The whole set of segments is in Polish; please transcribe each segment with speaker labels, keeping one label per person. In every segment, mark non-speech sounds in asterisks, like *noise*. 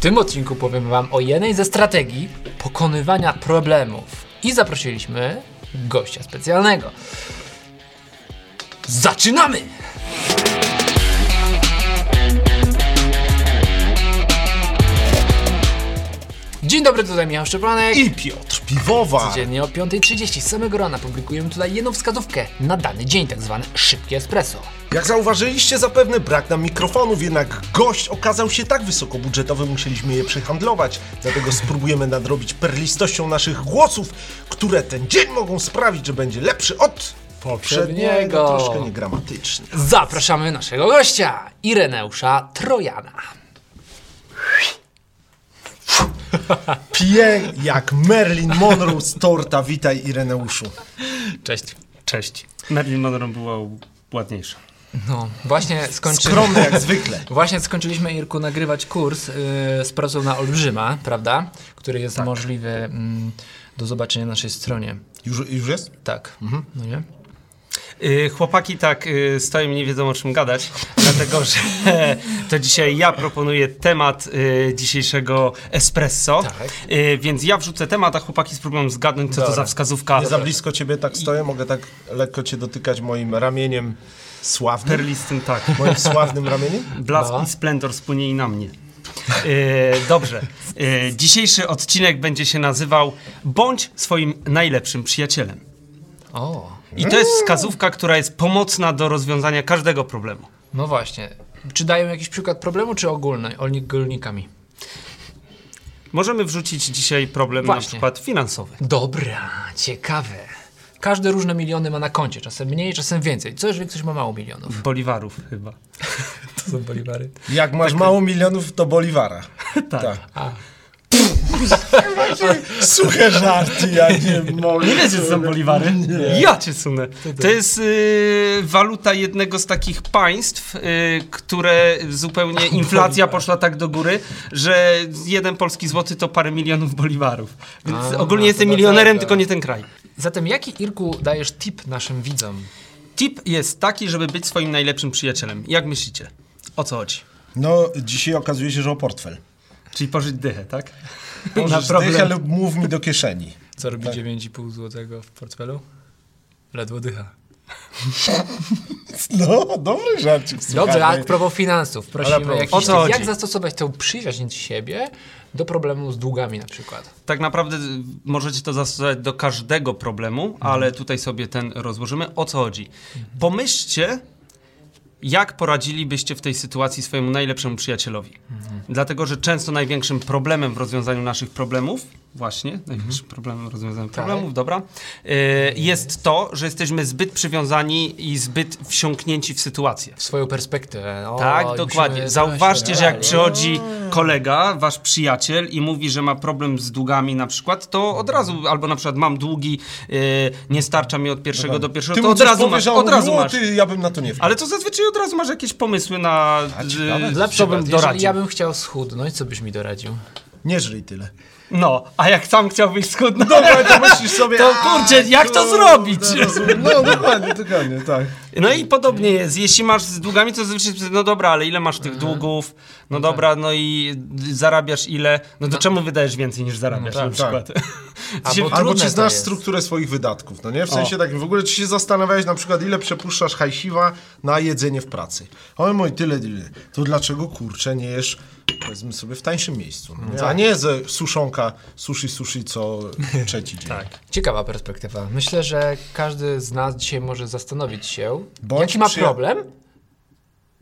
Speaker 1: tym odcinku powiem Wam o jednej ze strategii pokonywania problemów. I zaprosiliśmy gościa specjalnego. Zaczynamy! Dzień dobry, tutaj Michał Szczepanek.
Speaker 2: i Piotr Piwowa.
Speaker 1: Codziennie o 5.30 samego rana publikujemy tutaj jedną wskazówkę na dany dzień, tak zwane szybkie espresso.
Speaker 2: Jak zauważyliście, zapewne brak nam mikrofonów, jednak gość okazał się tak wysokobudżetowy, musieliśmy je przehandlować. Dlatego spróbujemy nadrobić perlistością naszych głosów, które ten dzień mogą sprawić, że będzie lepszy od poprzedniego. Troszkę niegramatyczny.
Speaker 1: Zapraszamy naszego gościa, Ireneusza Trojana.
Speaker 2: Pije jak Merlin Monroe z torta. Witaj, Ireneuszu.
Speaker 1: Cześć.
Speaker 3: Cześć. Marilyn Monroe była ładniejsza.
Speaker 1: No, właśnie skończyliśmy.
Speaker 2: Skromny jak zwykle.
Speaker 1: Właśnie skończyliśmy, Irku, nagrywać kurs yy, z pracą na Olbrzyma, prawda? Który jest możliwy mm, do zobaczenia na naszej stronie.
Speaker 2: Już, już jest?
Speaker 1: Tak. No nie?
Speaker 3: Yy, chłopaki tak yy, stoją i nie wiedzą o czym gadać, *laughs* dlatego że to dzisiaj ja proponuję temat yy, dzisiejszego espresso,
Speaker 1: Tak.
Speaker 3: yy, więc ja wrzucę temat, a chłopaki spróbują zgadnąć co to
Speaker 2: Dobra.
Speaker 3: za wskazówka
Speaker 2: Nie za blisko ciebie tak stoję, mogę tak lekko cię dotykać moim ramieniem sławnym.
Speaker 3: perlistym, tak.
Speaker 2: Moim sławnym ramieniem?
Speaker 3: Blask
Speaker 1: No.
Speaker 3: i splendor spłynie i na mnie. Yy, dobrze. Yy, dzisiejszy odcinek będzie się nazywał Bądź swoim najlepszym przyjacielem.
Speaker 1: O,
Speaker 3: I to jest wskazówka, która jest pomocna do rozwiązania każdego problemu.
Speaker 1: no właśnie. Czy dają jakiś przykład problemu, czy ogólny? Ogólnikami.
Speaker 3: Możemy wrzucić dzisiaj problem na
Speaker 1: Właśnie.
Speaker 3: przykład finansowy.
Speaker 1: Dobra, ciekawe. Każdy różne miliony ma na koncie, czasem mniej, czasem więcej. Co jeżeli ktoś ma mało milionów?
Speaker 3: Boliwarów chyba.
Speaker 1: To są bolivary.
Speaker 2: Jak masz mało milionów, to Boliwara.
Speaker 3: *laughs* Tak.
Speaker 2: *laughs* Suche żarty, ja nie mogę.
Speaker 3: *laughs* Nie wiecie, co są boliwary? Ja cię sunę. To jest y, waluta jednego z takich państw, y, które
Speaker 1: *laughs*
Speaker 3: zupełnie inflacja poszła tak do góry, że jeden polski złoty to parę milionów boliwarów. Więc
Speaker 1: A, no,
Speaker 3: ogólnie jestem
Speaker 1: to
Speaker 3: milionerem,
Speaker 1: dlatego.
Speaker 3: tylko nie ten kraj.
Speaker 1: Zatem jaki, Irku, dajesz tip naszym widzom?
Speaker 3: Tip jest taki, żeby być swoim najlepszym przyjacielem. Jak myślicie? O co chodzi?
Speaker 2: No, dzisiaj okazuje się, że o portfel.
Speaker 3: Czyli pożyć dychę, tak?
Speaker 2: Możesz dychę lub mów mi do kieszeni. *laughs*
Speaker 1: Co robi 9,5 złotego w portfelu? Ledwo dycha.
Speaker 2: No, dobry żarcik.
Speaker 1: Dobrze, a
Speaker 2: słuchaj.
Speaker 1: propos finansów,
Speaker 2: Ale
Speaker 1: prosimy
Speaker 2: propos-
Speaker 1: jakiś
Speaker 3: O co
Speaker 1: tip,
Speaker 3: chodzi?
Speaker 1: jak zastosować tę przyjaźń siebie do problemu z długami na przykład.
Speaker 3: Tak naprawdę y, możecie to zastosować do każdego problemu, ale tutaj sobie ten rozłożymy. O co chodzi? Pomyślcie, jak poradzilibyście w tej sytuacji swojemu najlepszemu przyjacielowi. Dlatego, że często największym problemem w rozwiązaniu naszych problemów, właśnie, największym problemem w rozwiązaniu problemów, dobra, y, jest to, że jesteśmy zbyt przywiązani i zbyt wsiąknięci w sytuację.
Speaker 1: W swoją perspektywę. O, i
Speaker 3: Tak,
Speaker 1: musimy-
Speaker 3: dokładnie. Zauważcie, że jak przychodzi kolega, wasz przyjaciel i mówi, że ma problem z długami na przykład, to od razu, albo na przykład mam długi, yy, nie starcza mi od pierwszego do pierwszego,
Speaker 2: Ty
Speaker 3: to
Speaker 2: mu
Speaker 3: od
Speaker 2: coś
Speaker 3: razu
Speaker 2: powiesz,
Speaker 3: masz,
Speaker 2: a on
Speaker 3: od razu
Speaker 2: no,
Speaker 3: masz.
Speaker 2: Ty, ja bym na to nie wpadł.
Speaker 3: Ale to zazwyczaj od razu masz jakieś pomysły na,
Speaker 2: ciekawe.
Speaker 3: yy,
Speaker 1: Dla
Speaker 3: co bym
Speaker 1: przykład, jeżeli
Speaker 3: doradził.
Speaker 1: ja bym chciał schudnąć, co byś mi doradził?
Speaker 2: Nie żyj tyle.
Speaker 3: No, a jak sam chciałbyś schudnąć,
Speaker 2: Dobra, *laughs* to myślisz sobie...
Speaker 3: to
Speaker 2: a,
Speaker 3: kurczę, jak to
Speaker 2: kurde,
Speaker 3: zrobić?
Speaker 2: rozumiem. No, dokładnie, dokładnie, tak.
Speaker 3: No i podobnie jest. Jeśli masz z długami, to zazwyczaj, no dobra, ale ile masz tych długów? No, dobra, no i zarabiasz ile? No to czemu wydajesz więcej niż zarabiasz
Speaker 1: No tak.
Speaker 3: na przykład?
Speaker 1: A
Speaker 3: Się-
Speaker 1: bo-
Speaker 2: Albo
Speaker 1: Trudne
Speaker 2: czy
Speaker 1: to
Speaker 2: znasz
Speaker 1: jest.
Speaker 2: strukturę swoich wydatków, no nie? W sensie takim, w ogóle czy się zastanawiałeś na przykład, ile przepuszczasz hajsiwa na jedzenie w pracy? O mój, tyle, tyle. To dlaczego, kurczę, nie jesz, powiedzmy sobie, w tańszym miejscu? No,
Speaker 1: Tak.
Speaker 2: nie? A nie ze suszonka, sushi, sushi co
Speaker 1: *laughs*
Speaker 2: trzeci dzień. tak.
Speaker 1: Ciekawa perspektywa. Myślę, że każdy z nas dzisiaj może zastanowić się,
Speaker 2: Bądź
Speaker 1: jaki ma
Speaker 2: przyja-
Speaker 1: problem,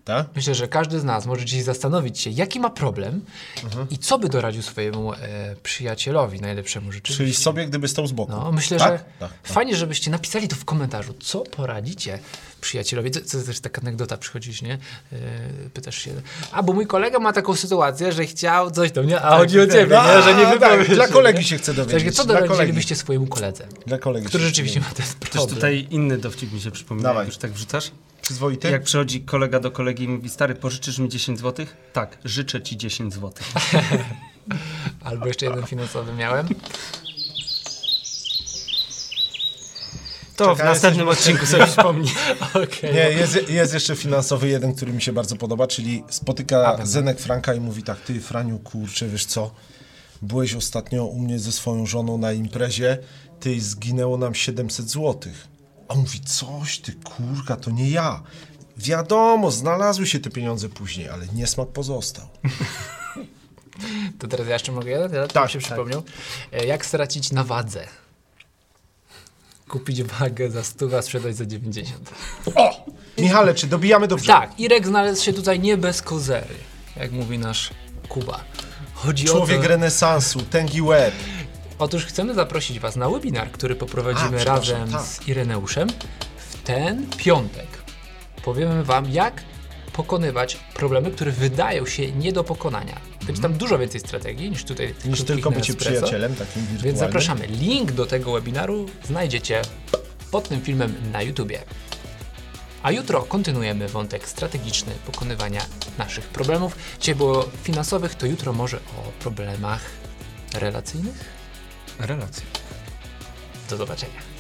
Speaker 2: Tak?
Speaker 1: Myślę, że każdy z nas może dziś zastanowić się, jaki ma problem
Speaker 2: Mhm.
Speaker 1: i co by doradził swojemu e, przyjacielowi najlepszemu rzeczywiście.
Speaker 2: Czyli sobie, gdyby stał z boku.
Speaker 1: No, myślę,
Speaker 2: tak?
Speaker 1: że
Speaker 2: Tak.
Speaker 1: fajnie, żebyście napisali to w komentarzu, co poradzicie przyjacielowi. To, to też taka anegdota przychodzisz, nie? E, pytasz się, a bo mój kolega ma taką sytuację, że chciał coś do mnie, a chodzi o ciebie,
Speaker 2: tak.
Speaker 1: nie? że nie
Speaker 2: A,
Speaker 1: wypowiesz.
Speaker 2: tak, dla
Speaker 1: się,
Speaker 2: kolegi
Speaker 1: nie?
Speaker 2: się chcę
Speaker 1: Też,
Speaker 2: dowiedzieć,
Speaker 1: Co
Speaker 2: dla
Speaker 1: doradzilibyście swojemu koledze,
Speaker 2: Dla kolegi.
Speaker 1: który
Speaker 2: się
Speaker 1: rzeczywiście ma ten
Speaker 3: *laughs* Też
Speaker 1: problem?
Speaker 3: tutaj inny dowcip mi się przypomina,
Speaker 2: Dawaj.
Speaker 3: jak już tak wrzucasz.
Speaker 2: Przyzwoity?
Speaker 3: Jak przychodzi kolega do kolegi i mówi, stary, pożyczysz mi 10 zł? Tak, życzę ci 10 zł.
Speaker 1: Albo
Speaker 2: *laughs*
Speaker 1: jeszcze jeden finansowy miałem.
Speaker 3: To w
Speaker 2: Czekaj,
Speaker 3: następnym
Speaker 2: *laughs*
Speaker 3: odcinku sobie wspomni.
Speaker 1: Okej.
Speaker 2: Tak. Nie, jest, jest jeszcze finansowy jeden, który mi się bardzo podoba, czyli spotyka Zenek Franka i mówi tak, ty Franiu, kurczę, wiesz co, byłeś ostatnio u mnie ze swoją żoną na imprezie, ty zginęło nam 700 złotych. A on mówi, coś ty kurka, to nie ja. Wiadomo, znalazły się te pieniądze później, ale niesmak pozostał.
Speaker 1: To teraz ja jeszcze mogę jeden? Ja tak,
Speaker 2: Tak,
Speaker 1: mi się
Speaker 2: tak.
Speaker 1: przypomniał. E, Jak stracić na wadze? Kupić wagę za 100, a sprzedać za 90.
Speaker 2: O! Michale, czy dobijamy dobrze?
Speaker 1: Tak, Irek znalazł się tutaj nie bez kozery, jak mówi nasz Kuba. Chodzi
Speaker 2: Człowiek
Speaker 1: o to...
Speaker 2: renesansu, tęgi łeb.
Speaker 1: Otóż chcemy zaprosić Was na webinar, który poprowadzimy
Speaker 2: A, przepraszam,
Speaker 1: razem
Speaker 2: tak.
Speaker 1: z Ireneuszem w ten piątek. Powiemy Wam, jak pokonywać problemy, które wydają się nie do pokonania. Będzie tam dużo więcej strategii niż tutaj.
Speaker 2: Mhm. Niż
Speaker 1: krótkich
Speaker 2: tylko bycie
Speaker 1: Nespresso.
Speaker 2: przyjacielem takim wirtualnym.
Speaker 1: Więc zapraszamy. Link do tego webinaru znajdziecie pod tym filmem na YouTubie. A jutro kontynuujemy wątek strategiczny pokonywania naszych problemów. Dzisiaj było finansowych, to jutro może o problemach relacyjnych.
Speaker 3: Relacje.
Speaker 1: Do zobaczenia.